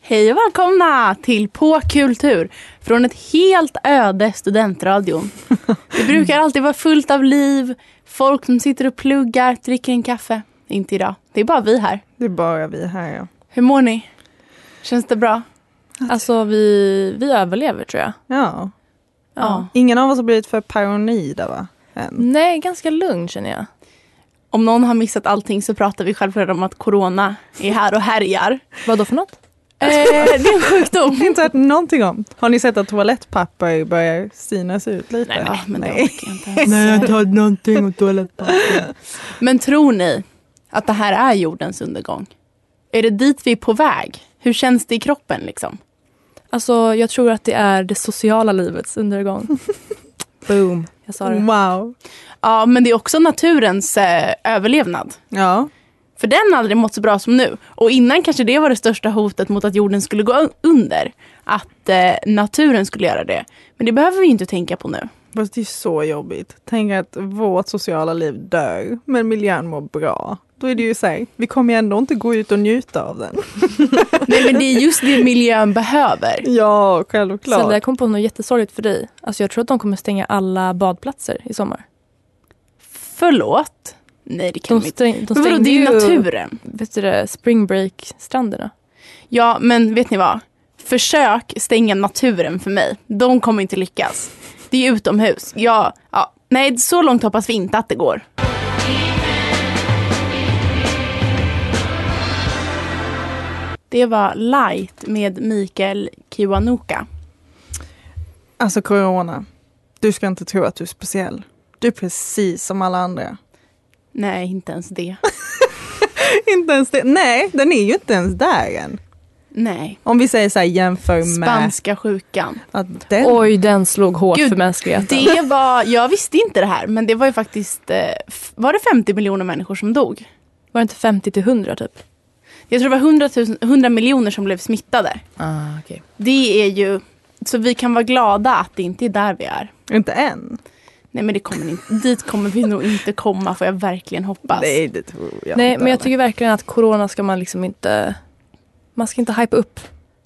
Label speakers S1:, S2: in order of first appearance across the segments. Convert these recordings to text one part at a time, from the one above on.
S1: Hej och välkomna till På kultur från ett helt öde studentradion. Det brukar alltid vara fullt av liv, folk som sitter och pluggar, dricker en kaffe. Inte idag, det är bara vi här.
S2: Det är bara vi här ja.
S1: Hur mår ni? Känns det bra? Alltså vi, vi överlever tror jag.
S2: ja.
S1: Ja.
S2: Ingen av oss har blivit för paranoida va? Än.
S3: Nej, ganska lugn känner jag.
S1: Om någon har missat allting så pratar vi självklart om att corona är här och härjar.
S3: Vad då för något?
S1: Eh, det är en sjukdom.
S2: Jag har inte hört någonting om. Har ni sett att toalettpapper börjar synas ut lite?
S1: Nej,
S2: Ja,
S1: men det
S2: Nej.
S1: orkar jag inte ens. säga.
S2: hört någonting om toalettpapper.
S1: Men tror ni att det här är jordens undergång? Är det dit vi är på väg? Hur känns det i kroppen liksom?
S3: Alltså, jag tror att det är det sociala livets undergång. Boom. Jag sa det.
S2: wow.
S1: Ja, men det är också naturens eh, överlevnad.
S2: Ja.
S1: För den har aldrig mått så bra som nu. Och innan kanske det var det största hotet mot att jorden skulle gå un- under. Att eh, naturen skulle göra det. Men det behöver vi ju inte tänka på nu.
S2: Fast det är så jobbigt. Tänk att vårt sociala liv dör, men miljön mår bra. Då är det ju så här, vi kommer ju ändå inte gå ut och njuta av den.
S1: Nej, men det är just det miljön behöver.
S2: Ja,
S3: Zelda, jag
S2: självklart.
S3: kom på något jättesorgligt för dig. Alltså, jag tror att de kommer stänga alla badplatser i sommar.
S1: Förlåt? Nej, det kan
S3: De,
S1: de inte.
S3: stäng, de
S1: Men vadå,
S3: stängde
S1: det är ju
S3: ju
S1: naturen.
S3: vet du det, spring break-stränderna.
S1: Ja, men vet ni vad? Försök stänga naturen för mig. De kommer inte lyckas. Det är utomhus. Ja, ja. Nej, så långt hoppas vi inte att det går. Det var Light med Mikael Kiwanuka.
S2: Alltså corona, du ska inte tro att du är speciell. Du är precis som alla andra.
S1: Nej, inte ens det.
S2: inte ens det. Nej, den är ju inte ens där än.
S1: Nej.
S2: Om vi säger så här, jämför med
S1: Spanska sjukan.
S2: att den...
S3: Oj, den slog hårt
S1: Gud,
S3: för mänskligheten.
S1: Det var, jag visste inte det här, men det var ju faktiskt, eh, f- var det 50 miljoner människor som dog?
S3: Var det inte 50 till 100 typ?
S1: Jag tror det var 100, 000, 100 miljoner som blev smittade.
S3: Ah, okay.
S1: Det är ju... Så vi kan vara glada att det inte är där vi är.
S2: Inte än.
S1: Nej men det kommer ni, dit kommer vi nog inte komma får jag verkligen hoppas.
S2: Nej, det tror jag
S3: Nej,
S2: inte
S3: men jag
S2: heller.
S3: tycker verkligen att corona ska man liksom inte... Man ska inte hypa upp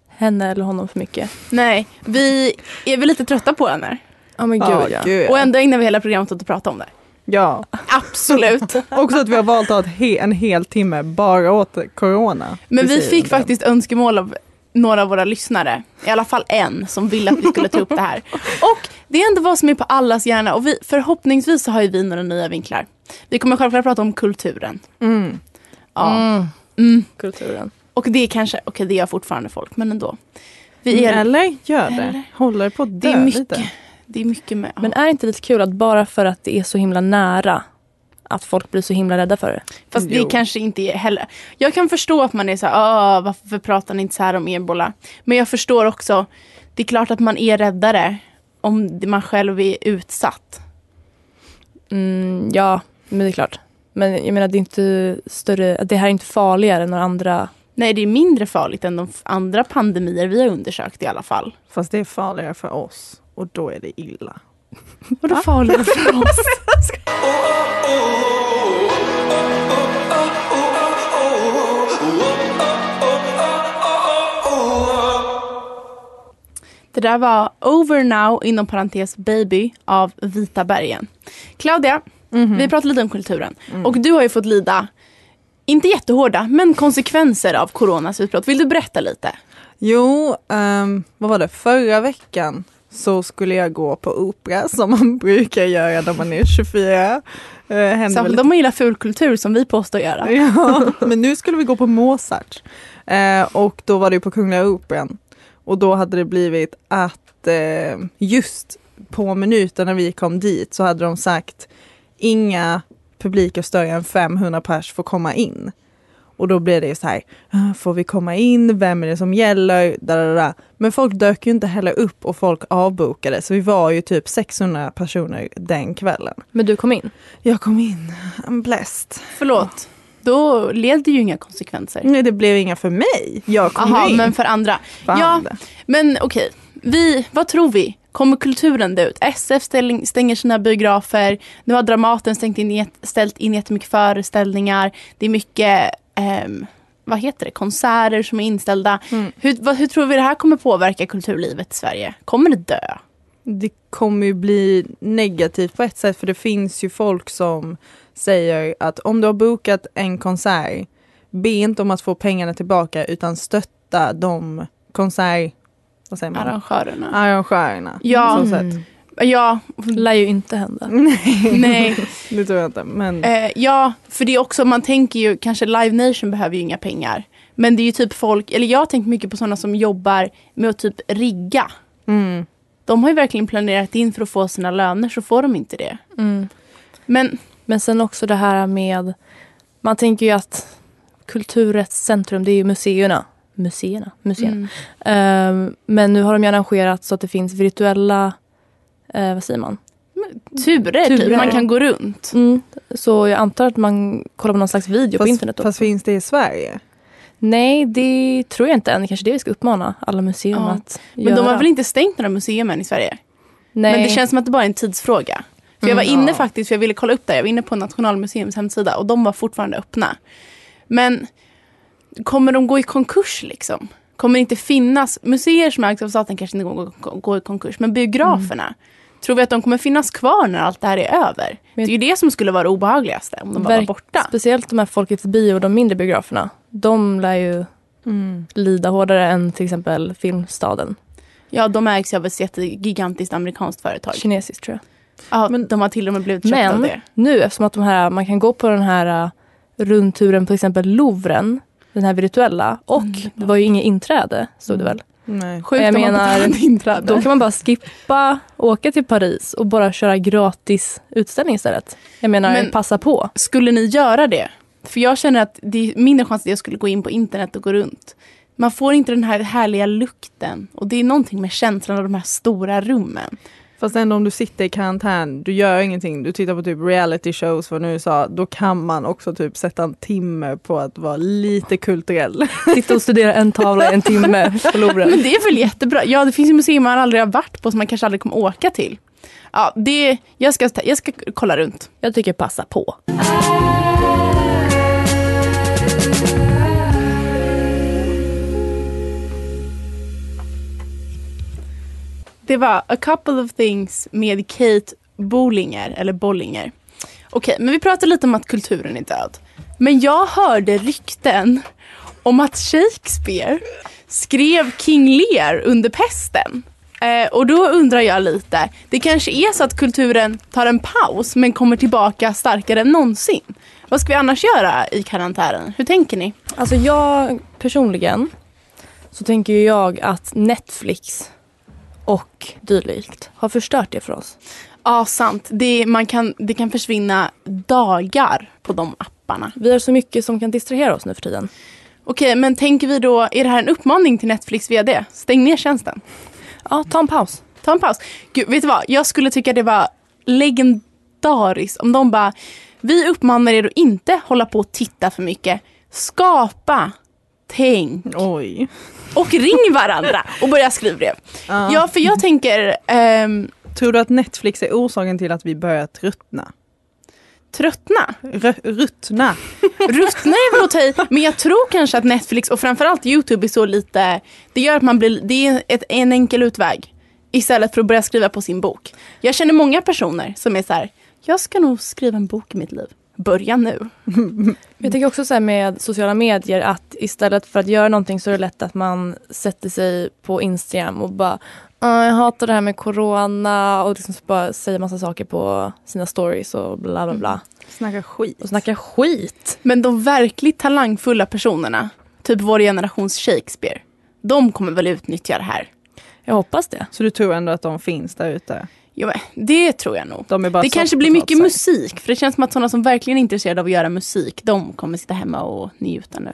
S3: henne eller honom för mycket.
S1: Nej, vi är väl lite trötta på den här.
S3: Ja men gud
S2: Ja,
S3: ja.
S2: gud,
S1: Och ändå ägnar vi hela programmet åt att prata om det.
S2: ja.
S1: Absolut.
S2: Också att vi har valt att ha ett he- en hel timme bara åt corona.
S1: Men vi
S2: Precis.
S1: fick faktiskt önskemål av några av våra lyssnare. I alla fall en som ville att vi skulle ta upp det här. Och det är ändå vad som är på allas hjärna och vi, förhoppningsvis så har ju vi några nya vinklar. Vi kommer självklart prata om kulturen.
S2: Mm.
S1: Ja.
S3: Mm.
S1: Mm.
S3: Kulturen.
S1: Och det är kanske, okej det gör fortfarande folk, men ändå. Vi är,
S2: Eller gör det.
S1: Eller?
S2: Håller på att
S1: Det
S2: dö
S1: är mycket.
S2: lite.
S1: det är mycket med.
S3: Men är det inte lite kul att bara för att det är så himla nära att folk blir så himla rädda för det?
S1: Fast det
S2: Jo.
S1: kanske inte är heller. Jag kan förstå att man är så här, "Ah, varför pratar ni inte så här om ebola? Men jag förstår också, det är klart att man är räddare om det- man själv är utsatt.
S3: Mm, ja, men det är klart. Men jag menar det är inte större, att det här är inte farligare än några andra.
S1: Nej, det är mindre farligt än de f- andra pandemier vi har undersökt i alla fall.
S2: Fast det är farligare för oss. Och då är det illa.
S1: Vadå farligare för oss? Det där var Over Now inom parentes Baby av Vita bergen. Claudia, vi pratar lite om kulturen. Och du har ju fått lida, inte jättehårda, men konsekvenser av coronas utbrott. Vill du berätta lite?
S2: Jo, ehm, vad var det? Förra veckan så skulle jag gå på opera som man brukar göra när man är 24. Eh, händer väl
S1: Särskilt om man gillar fulkultur som vi påstår göra.
S2: Ja, men nu skulle vi gå på Mozart. Eh, och då var det ju på Kungliga Operan. Och då hade det blivit att eh, just på minuten när vi kom dit så hade de sagt inga publiker större än 500 pers får komma in. Och då blev det ju så här, "Ah, får vi komma in, vem är det som gäller? Da, da, da. Men folk dök ju inte heller upp och folk avbokade så vi var ju typ 600 personer den kvällen.
S3: Men du kom in.
S2: Jag kom in, I'm blessed.
S1: Förlåt, då leder ju inga konsekvenser.
S2: Nej, det blev inga för mig. Jag kom
S1: Jaha,
S2: in.
S1: men för andra.
S2: Fan.
S1: Ja, men okej. Vi, vad tror vi? Kommer kulturen dö ut? SF ställ- stänger sina biografer. Nu har Dramaten stängt in, jät- ställt in jättemycket föreställningar. Det är mycket ehm, vad heter det, konserter som är inställda.
S2: Mm.
S1: Hur, vad, hur tror vi det här kommer påverka kulturlivet i Sverige? Kommer det dö?
S2: Det kommer ju bli negativt på ett sätt för det finns ju folk som säger att om du har bokat en konsert, be inte om att få pengarna tillbaka utan stötta de konsert... Vad säger man?
S1: Arrangörerna?
S2: Arrangörerna.
S1: Ja. Mm.
S2: Så sett.
S1: Ja,
S3: Lär ju inte hända.
S2: Nej,
S1: nej.
S2: det tror jag inte. Men
S1: Eh, ja, för det är också, man tänker ju kanske Live Nation behöver ju inga pengar. Men det är ju typ folk, eller jag har tänkt mycket på sådana som jobbar med att typ rigga.
S2: mm,
S1: De har ju verkligen planerat in för att få sina löner så får de inte det.
S3: Mm.
S1: Men
S3: Men sen också det här med... Man tänker ju att kulturets centrum, det är ju museerna. Museerna? museerna.
S1: mm,
S3: Ehm, men nu har de ju arrangerat så att det finns virtuella... eh, vad säger man?
S1: turer,
S3: Turer.
S1: typ, man kan gå runt.
S3: Så jag antar att man kollar på någon slags video på
S2: fast,
S3: internet. Då.
S2: fast finns det i Sverige?
S3: Nej, det tror jag inte än. Det kanske är det vi ska uppmana alla museer
S1: Ja.
S3: att
S1: Men
S3: göra.
S1: de har väl inte stängt några museer än i Sverige?
S3: Nej.
S1: Men det känns som att det bara är en tidsfråga. För jag var
S2: Mm,
S1: inne
S2: ja.
S1: faktiskt, för jag ville kolla upp det. Jag var inne på Nationalmuseums hemsida och de var fortfarande öppna. Men kommer de gå i konkurs liksom? Kommer det inte finnas, museer som ägs av staten kanske inte går, går- går i konkurs, men biograferna. Tror vi att de kommer finnas kvar när allt det här är över?
S3: Men-
S1: det är ju det som skulle vara det obehagligaste, om de bara var
S3: Verk-
S1: borta.
S3: Speciellt de här Folkets bio och de mindre biograferna. De lär ju lida hårdare än till exempel Filmstaden.
S1: Ja, de ägs ju av ett jättegigantiskt amerikanskt företag.
S3: Kinesiskt tror jag.
S1: Ja,
S2: Men-
S1: de har till och med blivit köpta
S3: Men-
S1: av det.
S3: Nu eftersom att de här, man kan gå på den här äh, rundturen på till exempel Louvren. Den här virtuella. Och det var ju inget inträde, stod det väl.
S2: Nej.
S1: Sjukt
S3: Jag
S1: om man
S3: menar,
S1: inte hade inträde.
S3: Då kan man bara skippa, åka till Paris och bara köra gratis utställning istället. Jag menar,
S1: Men-
S3: passa på.
S1: Skulle ni göra det? För jag känner att det är mindre chans att jag skulle gå in på internet och gå runt. Man får inte den här härliga lukten. Och det är någonting med känslan av de här stora rummen.
S2: Fast ändå om du sitter i karantän, du gör ingenting, du tittar på typ reality shows från USA, då kan man också typ sätta en timme på att vara lite kulturell.
S3: Sitta och studera en tavla i en timme på Louvren.
S1: Men det är väl jättebra. Ja, det finns ju museer man aldrig har varit på som man kanske aldrig kommer åka till. Ja, det, jag, ska, jag ska kolla runt.
S3: Jag tycker passa på.
S1: Det var A couple of things med Kate Bollinger, eller Bollinger. Okej, men vi pratar lite om att kulturen är död. Men jag hörde rykten om att Shakespeare skrev King Lear under pesten. Eh, och då undrar jag lite, det kanske är så att kulturen tar en paus men kommer tillbaka starkare än någonsin. Vad ska vi annars göra i karantänen? Hur tänker ni?
S3: Alltså jag personligen så tänker ju jag att Netflix och dylikt har förstört det för oss.
S1: Ja, sant. Det, man kan, det kan försvinna dagar på de apparna.
S3: Vi har så mycket som kan distrahera oss nu för tiden.
S1: Okej, men tänker vi då, är det här en uppmaning till Netflix vd? Stäng ner tjänsten.
S3: Ja, ta en paus.
S1: Ta en paus. Gud, vet du vad? Jag skulle tycka det var legendariskt om de bara, vi uppmanar er att inte hålla på och titta för mycket. Skapa, tänk
S2: Oj.
S1: och ring varandra och börja skrivbrev.
S2: Ja.
S1: Ja, för jag tänker ehm,
S2: Tror du att Netflix är orsaken till att vi börjar tröttna?
S1: tröttna.
S2: Rö- ruttna?
S1: Ruttna är väl att ta i, men jag tror kanske att Netflix och framförallt YouTube är så lite, det gör att man blir, det är ett, en enkel utväg istället för att börja skriva på sin bok. Jag känner många personer som är så här, jag ska nog skriva en bok i mitt liv. Börja nu.
S3: Jag tänker också så här med sociala medier att istället för att göra någonting så är det lätt att man sätter sig på Instagram och bara "Ah, jag hatar det här med corona och liksom så bara säger massa saker på sina stories och bla bla bla.
S2: Snacka skit.
S3: Och snackar skit.
S1: Men de verkligt talangfulla personerna, typ vår generations Shakespeare, de kommer väl utnyttja det här.
S3: Jag hoppas det.
S2: Så du tror ändå att de finns där ute?
S1: Jo, det tror jag nog.
S2: De är bara
S1: Det kanske blir mycket
S2: soffpotatisar.
S1: musik, för det känns som att sådana som verkligen är intresserade av att göra musik, de kommer sitta hemma och njuta nu.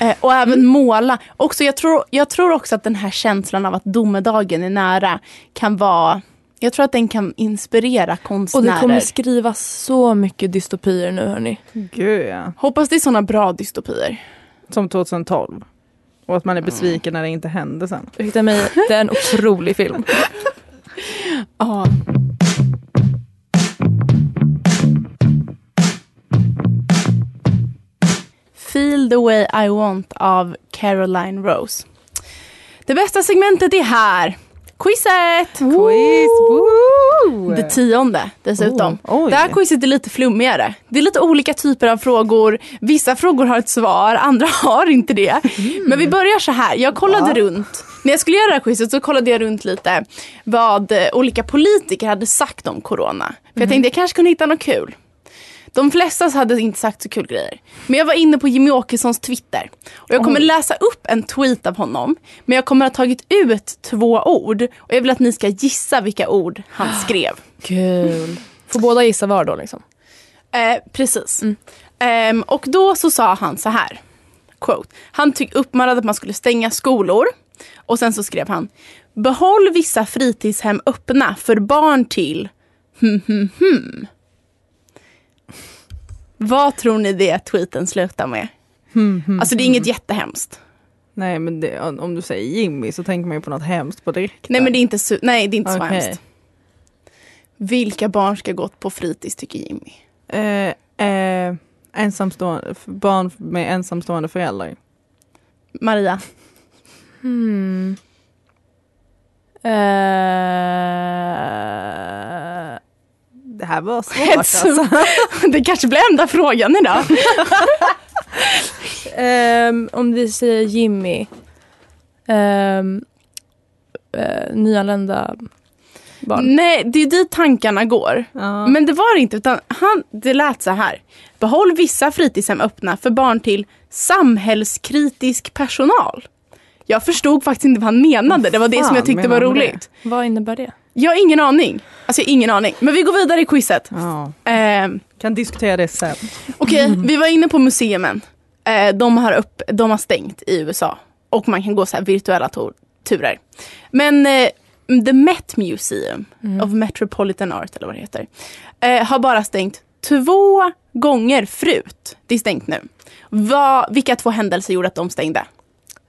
S1: eh, och även måla. Också, jag, tror, jag tror också att den här känslan av att domedagen är nära kan vara, jag tror att den kan inspirera
S3: Och
S1: konstnärer.
S3: det kommer skrivas så mycket dystopier nu hörni.
S2: Gud ja.
S1: Hoppas det är sådana bra dystopier.
S2: Som 2012. Och att man är besviken när det inte händer sen.
S3: Ursäkta mig, det är en otrolig film.
S1: Ja. Feel the way I want av Caroline Rose. Det bästa segmentet är här. Quizet!
S2: Quiz! woo!
S1: Det tionde dessutom.
S2: Oh, oj.
S1: Det här quizet är lite flummigare. Det är lite olika typer av frågor. Vissa frågor har ett svar, andra har inte det. Men vi börjar så här. Jag kollade runt. När jag skulle göra det här quizet så kollade jag runt lite vad eh, olika politiker hade sagt om corona. För jag tänkte jag kanske kunde hitta något kul. De flesta hade inte sagt så kul grejer. Men jag var inne på Jimmy Åkessons Twitter. Och jag kommer läsa upp en tweet av honom. Men jag kommer ha tagit ut två ord. Och jag vill att ni ska gissa vilka ord han skrev.
S3: Kul. Får båda gissa var då liksom?
S1: Eh, precis. Ehm, och då så sa han så här. Quote. Han tyck, uppmanade att man skulle stänga skolor. Och sen så skrev han. Behåll vissa fritidshem öppna för barn till... Hmm, hmm, hmm. Vad tror ni det tweeten slutar med?
S2: Hmm, hmm.
S1: Alltså det är inget jättehemskt.
S2: Nej men det, om om du säger Jimmy så tänker man ju på något hemskt på direkt.
S1: Nej men det är inte, su- nej, det är inte så
S2: Okej.
S1: hemskt. Vilka barn ska gå på fritids tycker Jimmy?
S2: Eh, eh, ensamstående, f- barn med ensamstående föräldrar.
S1: Maria?
S3: Hmm. Eh,
S2: Det här var svårt
S1: Hets.
S2: alltså.
S1: det kanske blir enda frågan idag.
S3: ehm, om vi säger Jimmy. Ehm, eh, nyanlända barn.
S1: Nej, det är dit tankarna går.
S2: Ja.
S1: Men det var det inte, utan han, det lät så här. Behåll vissa fritidshem öppna för barn till samhällskritisk personal. Jag förstod faktiskt inte vad han menade. Det var det
S2: Vad
S1: som jag
S2: fan
S1: tyckte var
S2: menar han med
S1: roligt.
S3: Vad innebär det?
S1: Jag har ingen aning. Alltså jag har ingen aning. Men vi går vidare i quizet.
S2: Ja.
S1: Ehm,
S2: Kan diskutera det sen.
S1: Okej,
S2: Mm.
S1: vi var inne på museumen. Eh, de, har upp, de har stängt i USA. Och man kan gå så här virtuella to- turer. Men eh, The Met Museum
S3: Mm. Ehm.
S1: of Metropolitan Art, eller vad det heter, eh, har bara stängt två gånger förut. Det är stängt nu. Vad- vilka två händelser gjorde att de stängde?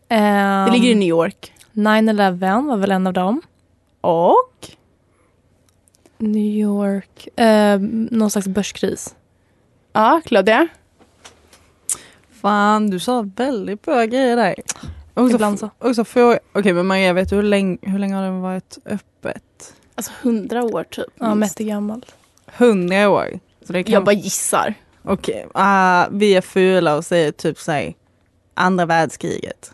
S3: Ehm,
S1: Det ligger i New York.
S3: 9-11 var väl en av dem.
S1: Och?
S3: New York. Ehm, någon slags börskris.
S1: Ja, Claudia.
S2: Fan, du sa väldigt bra grejer där. Och så,
S3: Ibland så.
S2: och så fråga, okej men Maria vet du hur länge, hur länge har den varit öppet?
S1: Alltså hundra år typ.
S3: Ja, Mette gammal.
S2: Hundra år. Så det kan,
S1: Jag bara gissar.
S2: Okej, ah, vi är fula och säger typ såhär andra världskriget.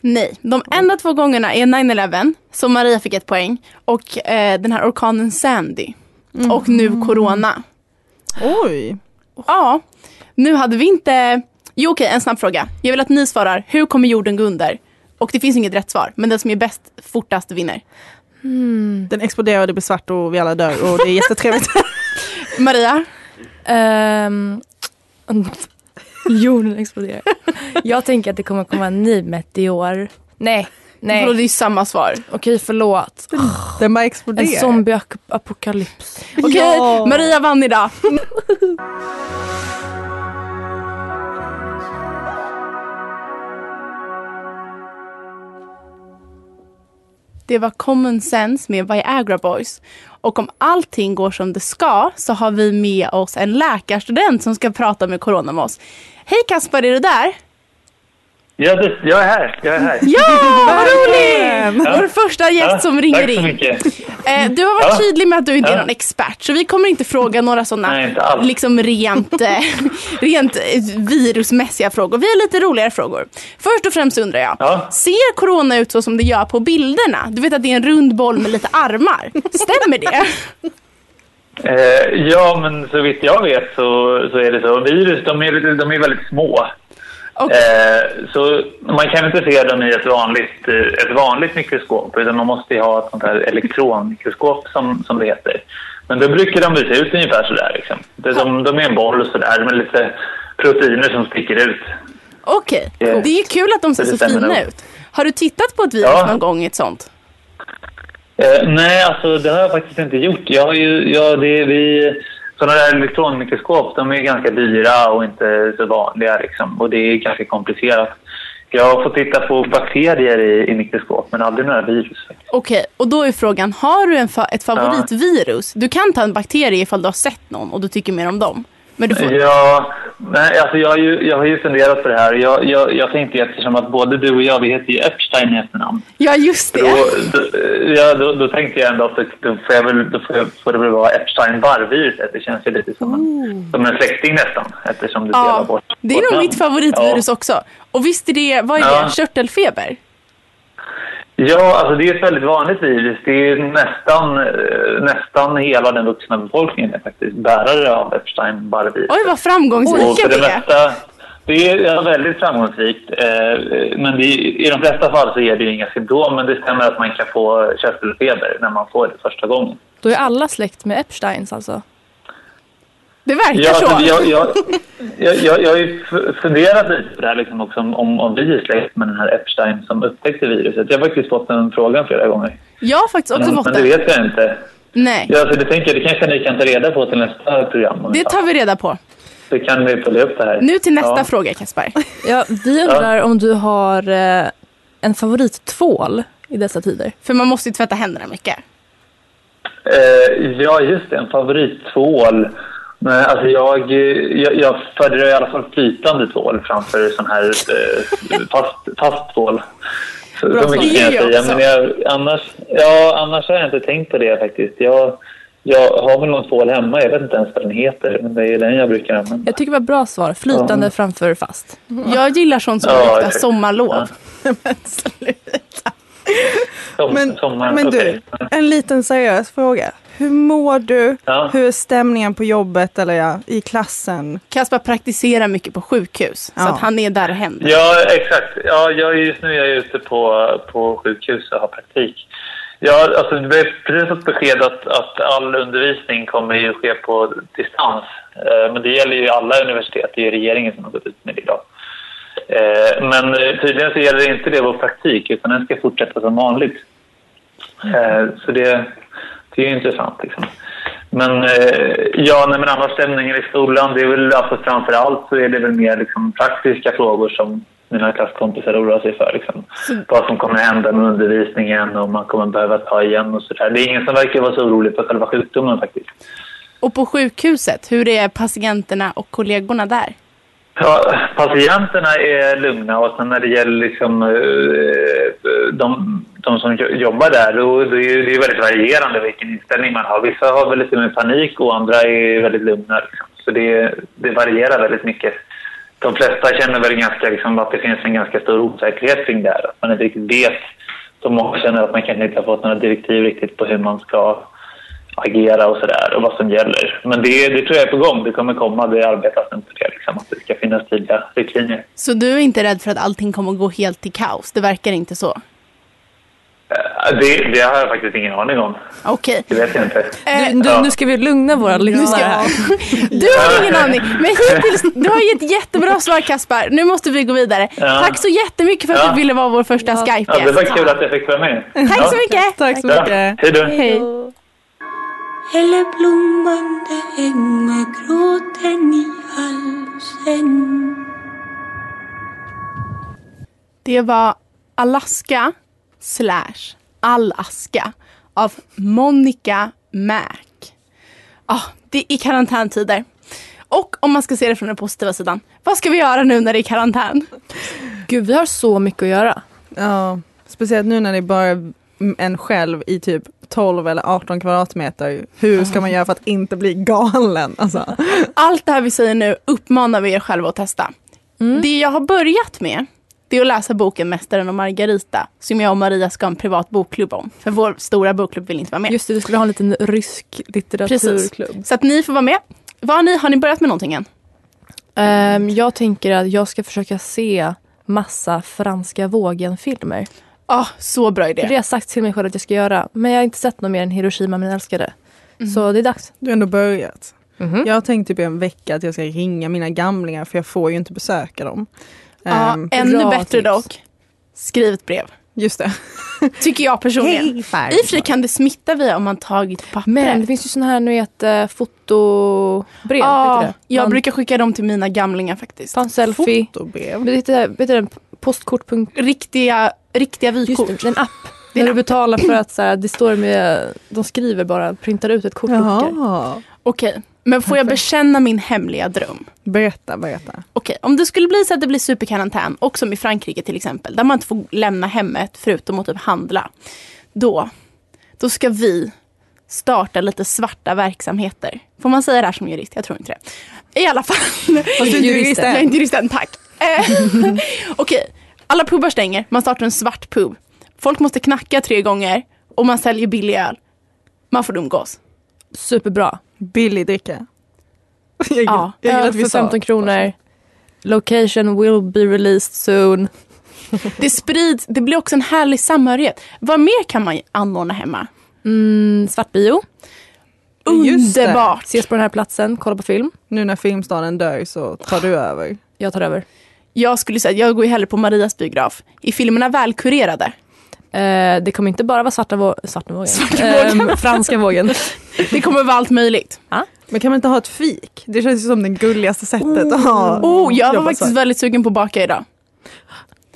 S1: Nej, de enda två gångerna är 9-11, som Maria fick ett poäng, och eh, den här orkanen Sandy.
S2: Mm.
S1: Och nu corona.
S2: Oj!
S1: Ja, nu hade vi inte... Jo okej, en snabb fråga. Jag vill att ni svarar, hur kommer jorden gå under? Och det finns inget rätt svar, men den som är bäst fortast vinner.
S3: Hmm.
S2: Den exploderar och det blir svart och vi alla dör och det är jättetrevligt.
S1: Maria,
S3: Ehm, jorden exploderar. Jag tänker att det kommer komma en ny meteor. Nej, nej.
S1: Vadå, det är ju samma svar.
S3: Okej, förlåt.
S2: den bara
S3: En
S2: exploderar.
S3: zombieapokalyps.
S1: Okej,
S2: Ja.
S1: Maria vann idag. Det var Common Sense med Viagra Boys. Och om allting går som det ska så har vi med oss en läkarstudent som ska prata med corona med oss. Hej Kaspar, är du där?
S4: Ja, det, jag är här. Jag är här.
S1: Ja, vad roligt!
S4: Ja.
S1: Vår första gäst
S4: Ja,
S1: som ringer
S4: Tack så
S1: in.
S4: mycket.
S1: Eh, du har varit
S4: Ja.
S1: tydlig med att du inte är
S4: Ja.
S1: någon expert, så vi kommer inte fråga några
S4: Nej, inte
S1: sådana
S4: alls.
S1: liksom rent, eh, rent eh, virusmässiga frågor. Vi har lite roligare frågor. Först och främst undrar jag,
S4: Ja.
S1: ser corona ut så som det gör på bilderna? Du vet att det är en rund boll med lite armar. Stämmer det?
S4: Eh, ja, men så vitt jag vet så, så är det så. Virus, de är, de är väldigt små.
S1: Och,
S4: Eh, så man kan inte se dem i ett vanligt, eh, ett vanligt mikroskop utan man måste ju ha ett sånt här elektronmikroskop som, som det heter. Men då brukar de se ut ungefär sådär. Liksom. Det är som, de är en boll sådär med lite proteiner som sticker ut.
S1: Okej,
S4: Eh,
S1: det är kul att de ser
S4: det
S1: så
S4: stämmer
S1: fina
S4: nog.
S1: ut. Har du tittat på ett virus
S4: Ja.
S1: någon gång i ett sånt?
S4: Eh, nej, alltså det har jag faktiskt inte gjort. Jag har ju, ja, det, vi, sådana där elektronmikroskop de är ju ganska dyra och inte så vanliga. Liksom, och det är ganska komplicerat. Jag har fått titta på bakterier i, i mikroskop, men aldrig några virus. faktiskt.
S1: Okej, och då är frågan, har du en fa- ett favoritvirus? Du kan ta en bakterie ifall du har sett någon och du tycker mer om dem. Men du får...
S4: Ja, nej, alltså jag, har ju, jag har ju funderat på det här. Jag, jag, jag tänkte eftersom att både du och jag, vi heter ju Epstein i efternamn.
S1: Ja, just
S4: Då,
S1: det.
S4: då, ja, då, då tänkte jag ändå att det- då får, jag väl, då får, jag, får det väl vara Epstein varvviruset. Det känns ju lite som en, som en släkting nästan eftersom det delar
S1: Ja,
S4: bort.
S1: det är
S4: bort
S1: nog
S4: namn.
S1: mitt favoritvirus
S4: Ja.
S1: också. Och visst är det, vad är
S4: Ja.
S1: det, körtelfeber?
S4: Ja, alltså det är ett väldigt vanligt virus. Det är nästan, eh, nästan hela den vuxna befolkningen är faktiskt bärare av Epstein Barr-viruset.
S1: Oj, vad framgångsrika
S4: Och för
S1: vi
S4: det
S1: är.
S4: mesta, det är ja, väldigt framgångsrikt. eh, Men det, är- i de flesta fall så är det ju inga symptom, men det stämmer att man kan få körtelfeber när man får det första gången.
S3: Då är alla släkt med Epsteins alltså.
S1: Det verkar
S4: Ja,
S1: så.
S4: alltså, jag, jag, jag, jag, jag har ju f- funderat lite på det här liksom också, om- om, om vi är släkt med den här Epstein som upptäckte viruset. Jag har faktiskt fått den frågan flera gånger.
S1: Jag har faktiskt också
S4: Men,
S1: fått
S4: men det
S1: det.
S4: vet jag inte.
S1: Nej,
S4: Ja, alltså, det tänker jag, det kanske ni kan ta reda på till nästa program.
S1: det tar vi reda på.
S4: Så kan vi följa upp det här.
S1: Nu till nästa
S4: Ja.
S1: fråga, Kasper.
S3: Ja, vi undrar om du har eh, en favorittvål i dessa tider.
S1: För man måste ju tvätta händerna mycket.
S4: Eh, ja, just det. En favorittvål. Nej, alltså jag, eh, jag, jag föredrar i alla fall flytande tvål framför sån här eh, fast, fast tvål. Så,
S1: Bra
S4: så mycket
S1: svar.
S2: E
S4: kan
S1: Det gör
S4: jag
S1: jag
S4: säga. Men jag, annars, ja, annars har jag inte tänkt på det faktiskt. Jag, jag har väl någon tvål hemma. Jag vet inte ens vad den heter. Men det är den jag brukar använda.
S3: Jag tycker det var ett bra svar. Flytande framför fast.
S1: Jag gillar sånt som
S4: Ja,
S1: luktar
S4: exakt.
S1: sommarlov.
S4: Som,
S2: Men,
S4: sommar-
S2: men du,
S4: okej.
S2: en liten seriös fråga. Hur mår du?
S4: Ja.
S2: Hur är stämningen på jobbet eller ja, i klassen?
S1: Kaspar praktiserar mycket på sjukhus.
S2: Ja.
S1: Så att han är där hem.
S4: Ja, exakt. Ja, jag, är- just nu är jag ute på, på sjukhus och har praktik. Ja, alltså, det blev precis fått besked att, att all undervisning kommer ju ske på distans. Eh, men det gäller ju alla universitet. Det är ju regeringen som har gått ut med det idag. Eh, men eh, tydligen så gäller det inte det vår praktik, utan den ska fortsätta som vanligt. Eh, så det, det är ju intressant. Liksom. Men eh, ja, nej, men annars stämningen i skolan, det är väl alltså framför allt så är det väl mer liksom, praktiska frågor som mina klasskompisar oroar sig för. Liksom. Vad som kommer hända med undervisningen och om man kommer behöva ta igen och sådär. Det är ingen som verkar vara så orolig för själva sjukdomen faktiskt.
S1: Och på sjukhuset, hur är patienterna och kollegorna där?
S4: Ja, patienterna är lugna och sen när det gäller liksom, eh, de, de som jo- jobbar där, då, det är ju- det är väldigt varierande vilken inställning man har. Vissa har väl lite mer panik och andra är väldigt lugna. Liksom. Så det, det varierar väldigt mycket. De flesta känner väl ganska, liksom, att det finns en ganska stor osäkerhet kring det här. Att man inte riktigt vet. De många känner att man kanske inte har fått några direktiv riktigt på hur man ska agera och sådär och vad som gäller. Men det, det tror jag är på gång. Det kommer komma. Det arbetas nu på det. Liksom, att det ska finnas tydliga riktlinjer.
S1: Så du är inte rädd för att allting kommer att gå helt till kaos? Det verkar inte så.
S4: Eh, Det, det har jag faktiskt ingen aning om.
S1: Okej.
S4: Det vet jag inte.
S1: Eh,
S3: Du,
S4: Ja.
S3: nu ska vi lugna våra lyssnare här.
S1: Du har ingen aning. Men hittills, du har gett jättebra svar Kaspar. Nu måste vi gå vidare.
S4: Ja.
S1: Tack så jättemycket för att
S4: Ja.
S1: du ville vara vår första
S4: Ja, det var
S1: Skype-gäst.
S4: kul att jag fick vara med.
S1: Tack så mycket.
S2: Tack så
S4: Ja,
S2: mycket.
S4: hej då.
S1: Hej.
S5: Eller blommande äng med gråten i halsen
S1: Det var Alaska slash Alaska av Monica Mac. Ah, det är karantäntider. Och om man ska se det från den positiva sidan, vad ska vi göra nu när det är karantän?
S3: Gud, vi har så mycket att göra.
S2: Ja, speciellt nu när det är bara en själv i typ 12 eller 18 kvadratmeter. Hur ska man göra för att inte bli galen? Alltså.
S1: Allt det här vi säger nu uppmanar vi er själva att testa.
S3: Mm.
S1: Det jag har börjat med det är att läsa boken Mästaren och Margarita som jag och Maria ska ha en privat bokklubb om. För vår stora bokklubb vill inte vara med.
S3: Just det, vi skulle ha en liten rysk
S1: Precis.
S3: litteraturklubb.
S1: Så att ni får vara med. Vad har, ni, har ni börjat med någonting än?
S3: Ehm, jag tänker att jag ska försöka se massa Franska vågen-filmer.
S1: Ah, så bra idé.
S3: För Det har jag sagt till mig själv att jag ska göra. Men jag har inte sett något mer än Hiroshima min älskade. Så det är dags.
S2: Du har ändå börjat. Jag tänkte typ i en vecka att jag ska ringa mina gamlingar för jag får ju inte besöka dem.
S1: Ja,
S2: Ehm,
S1: ännu
S3: bra
S1: bättre
S3: tips.
S1: dock. Skriv ett brev.
S2: just det.
S1: Tycker jag personligen. I
S2: farfar.
S1: och för sig kan det smitta via om man tagit papper.
S3: Men det finns ju såna här, nu vet, eh, fotobrev.
S1: Ja,
S3: heter det?
S1: jag
S3: Man
S1: brukar skicka dem till mina gamlingar faktiskt.
S3: tar en selfie.
S2: Fotobrev.
S3: Vet du, vet du den postkort.
S1: Riktiga, riktiga
S3: Just
S1: vykort.
S3: det, en app.
S1: är
S3: När du betalar för att så här, det står med, de skriver bara, printar ut ett kort och skickar.
S2: Jaha.
S1: Okej, Men får jag bekänna min hemliga dröm?
S2: Berätta, berätta.
S1: Okej, om det skulle bli så att det blir superkarantän, och som i Frankrike till exempel, där man inte får lämna hemmet förutom att typ handla. Då, då ska vi starta lite svarta verksamheter. Får man säga det här som jurist? Jag tror inte det. I alla fall.
S2: Fast du är jurist än.
S1: Jag är inte jurist än, tack. Eh, Okej, alla pubar stänger, man startar en svart pub. Folk måste knacka tre gånger och man säljer billig öl. Man får umgås.
S3: Superbra.
S2: Billig dricka. Jag, gill-
S1: Ja,
S2: jag gillar
S3: Öl
S2: att vi
S3: för
S2: sa-
S3: 15 kronor. Location will be released soon.
S1: Det sprids, det blir också en härlig samhörighet. Vad mer kan man anordna hemma?
S3: Mm, Svartbio.
S2: Just det.
S1: Underbart!
S3: Ses på den här platsen, kolla på film.
S2: Nu när Filmstaden dör så tar du över.
S3: Jag tar över.
S1: Jag skulle säga att jag går ju hellre på Marias biograf. I filmerna Välkurerade.
S3: Eh, det kommer inte bara vara svarta, vå- svarta vågen.
S1: Svarta vågen.
S3: Eh, franska vågen.
S1: Det kommer vara allt möjligt.
S2: Men kan man inte ha ett fik? Det känns ju som det gulligaste sättet att ha.
S1: Oh, jag var
S2: jobba
S1: faktiskt
S2: svart.
S1: väldigt sugen på att baka idag.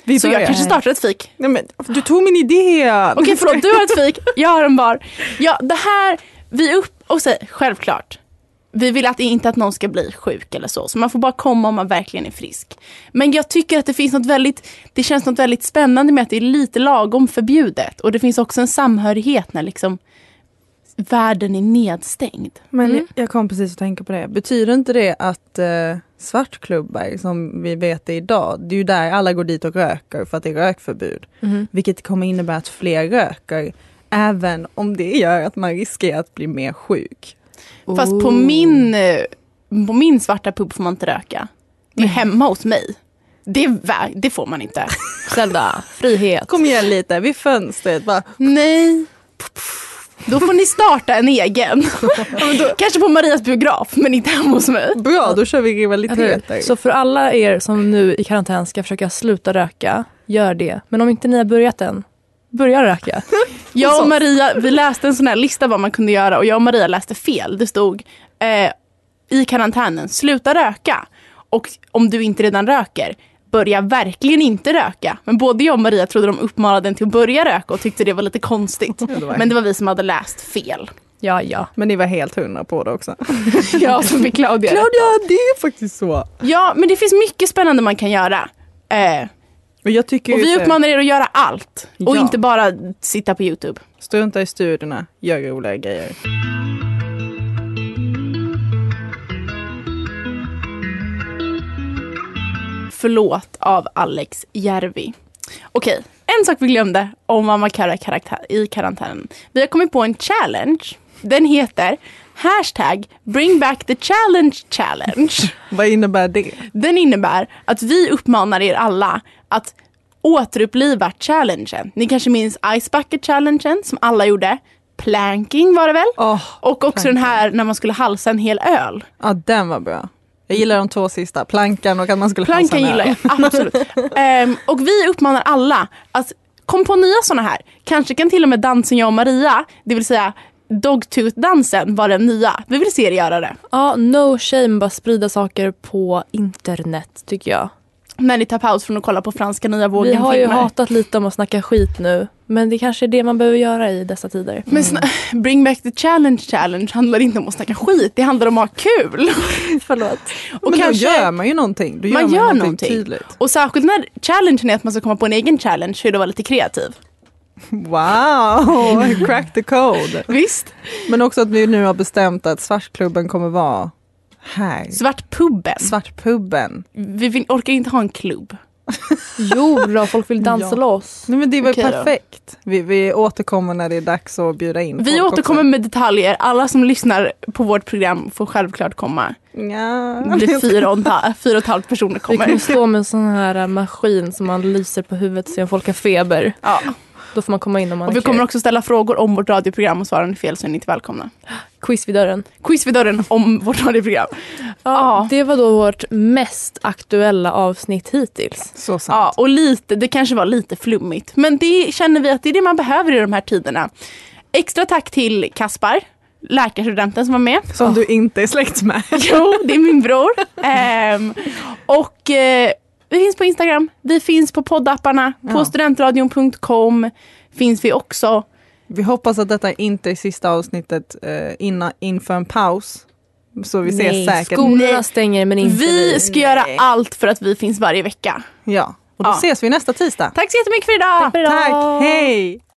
S2: Vi
S1: Så jag
S2: börjar.
S1: kanske startar ett fik.
S2: Nej, men, du tog min idé!
S1: Okej förlåt, du har ett fik, jag har en bar. Ja, det här, vi är upp och säger självklart. Vi vill att, inte att någon ska bli sjuk eller så. Så man får bara komma om man verkligen är frisk. Men jag tycker att det finns något väldigt, det känns något väldigt spännande med att det är lite lagom förbjudet. Och det finns också en samhörighet när liksom världen är nedstängd.
S2: Men jag kom precis att tänka på det. Betyder inte det att eh, svartklubbar som vi vet det idag, det är ju där alla går dit och röker för att det är rökförbud.
S3: Mhm.
S2: Vilket kommer innebära att fler röker även om det gör att man riskerar att bli mer sjuk.
S1: Fast på min, eh, på min svarta pub får man inte röka. Det är hemma hos mig. Det, är vä- det får man inte.
S3: Zelda, frihet.
S2: Kom igen lite, vid fönstret bara.
S1: Nej. Då får ni starta en egen. Ja, men då- Kanske på Marias biograf, men inte hemma hos mig.
S2: Bra, då kör vi rivaliteter.
S3: Alltså, Så för alla er som nu i karantän ska försöka sluta röka, gör det. Men om inte ni har börjat än, börja röka.
S1: Jag och Maria vi läste en sån här lista vad man kunde göra och jag och Maria läste fel. Det stod eh, i karantänen, sluta röka. Och om du inte redan röker, börja verkligen inte röka. Men både jag och Maria trodde de uppmanade en till att börja röka och tyckte det var lite konstigt.
S2: det var-
S1: Men det var vi som hade läst fel.
S3: Ja, ja.
S2: Men ni var helt hundra på det också.
S1: Ja, så fick Claudia rätt.
S2: Claudia, det är faktiskt så.
S1: Ja, men det finns mycket spännande man kan göra. Eh,
S2: Och jag tycker
S1: Och
S2: ju
S1: vi
S2: så här,
S1: uppmanar er att göra allt och
S2: Ja.
S1: inte bara sitta på Youtube.
S2: strunta i studierna, gör roliga grejer.
S1: Förlåt av Alex Järvi. Okej, en sak vi glömde om Mamma Kara karaktär i karantänen. Vi har kommit på en challenge. Den heter hashtag bring back the challenge challenge.
S2: Vad innebär det?
S1: Den innebär att vi uppmanar er alla att återuppliva challengen. Ni kanske minns Ice Bucket challengen som alla gjorde. Planking var det väl?
S2: Åh,
S1: Och också den här när man skulle halsa en hel öl.
S2: Ja, den var bra. Jag gillar de två sista, plankan och att man skulle
S1: Plankan
S2: ha sån här-
S1: gillar jag, absolut. Ehm, och vi uppmanar alla att kom på nya sådana här. Kanske kan till och med dansen jag och Maria, det vill säga Dogtooth-dansen var den nya. Vi vill se er göra det.
S3: Ja, no shame, bara sprida saker på internet tycker jag.
S1: När ni tar paus från att kolla på franska nya vågen
S3: Vi har ju hatat lite om att snacka skit nu, men det kanske är det man behöver göra i dessa tider.
S1: Men sna- Bring back the challenge challenge handlar inte om att snacka skit, det handlar om att ha kul.
S3: Förlåt.
S1: Och
S2: men
S1: kanske-
S2: då gör man ju någonting. Då gör
S1: man
S2: man,
S1: gör
S2: någonting,
S1: någonting.
S2: tydligt.
S1: Och särskilt när challengen är att man ska komma på en egen challenge, så är det att vara lite kreativ.
S2: Wow, crack the code.
S1: Visst?
S2: Men också att vi nu har bestämt att svartklubben kommer vara här.
S1: Svartpubben.
S2: Svartpubben.
S1: Vi vill, orkar inte ha en klubb.
S3: Jo då, folk vill dansa
S2: Ja.
S3: loss.
S2: Nej men det var
S1: Okej då.
S2: perfekt. Vi, vi återkommer när det är dags att bjuda in
S1: Vi
S2: folk
S1: återkommer
S2: också.
S1: med detaljer. Alla som lyssnar på vårt program får självklart komma. Det
S2: Nja.
S1: blir fyra och, en halv, fyra och ett halvt personer
S3: Vi kommer
S1: kommer.
S3: stå med en sån här äh, maskin som man lyser på huvudet så att folk har feber.
S1: Ja.
S3: Då får man komma in om man
S1: Och
S3: har
S1: vi kommer
S3: kul.
S1: också ställa frågor om vårt radioprogram och svarar ni fel så är ni inte välkomna.
S3: Quiz vid dörren.
S1: Quiz vid dörren om vårt radioprogram. Ja.
S3: Det var då vårt mest aktuella avsnitt hittills.
S2: Så sant.
S1: Ja, och lite, det kanske var lite flummigt. Men det känner vi att det är det man behöver i de här tiderna. Extra tack till Kaspar, läkarstudenten som var med.
S2: Som du inte är släkt med.
S1: Jo, det är min bror. Ehm, och eh, vi finns på Instagram, vi finns på poddapparna, på
S2: Ja.
S1: studentradion.com finns vi också.
S2: Vi hoppas att detta inte är sista avsnittet eh, innan, inför en paus. Så vi ses
S3: Nej,
S2: säkert.
S3: Skolorna
S1: Nej.
S3: stänger men inte
S1: Vi ska göra allt för att vi finns varje vecka.
S2: Ja, och då
S1: Ja.
S2: ses vi nästa tisdag.
S1: Tack så jättemycket för idag!
S3: Tack för idag.
S2: Tack, hej!